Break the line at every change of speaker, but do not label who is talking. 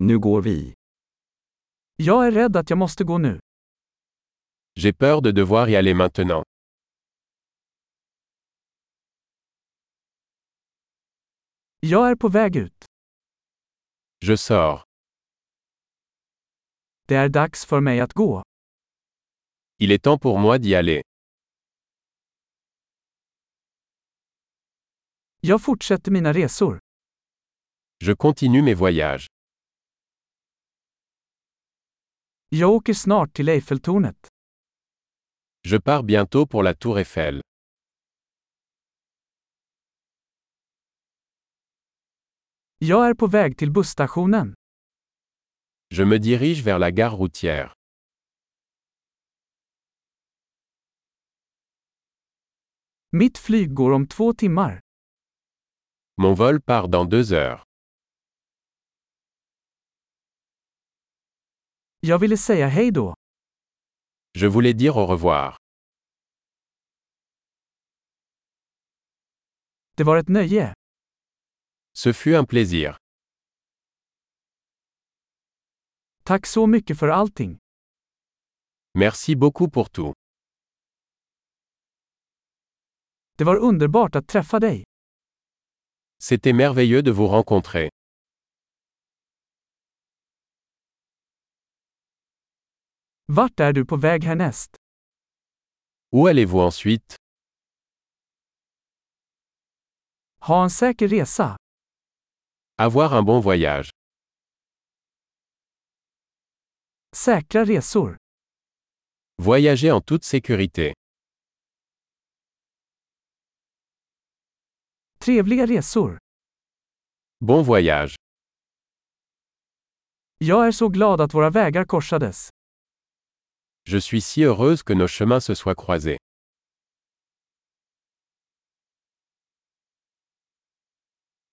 Nu går vi.
Jag är rädd att jag måste gå nu.
J'ai peur de devoir y aller maintenant.
Jag är på väg ut.
Je sors.
Det är dags för mig att gå.
Il est temps pour moi d'y aller.
Jag fortsätter mina resor.
Je continue mes voyages.
Jag åker snart till Eiffeltornet.
Je pars bientôt pour la Tour Eiffel.
Jag är på väg till busstationen.
Je me dirige vers la gare routière.
Mitt flyg går om två timmar.
Mon vol part dans deux heures.
Jag ville säga hej då.
Je voulais dire au revoir.
Det var ett nöje.
Ce fut un plaisir.
Tack så mycket för allting.
Merci beaucoup pour tout.
Det var underbart att träffa dig.
C'était merveilleux de vous rencontrer.
Vart är du på väg härnäst?
Où allez-vous ensuite
Ha en säker resa.
Avoir un bon voyage.
Säkra resor.
Voyager en toute sécurité.
Trevliga resor.
Bon voyage.
Jag är så glad att våra vägar korsades.
Je suis si heureuse que nos chemins se soient croisés.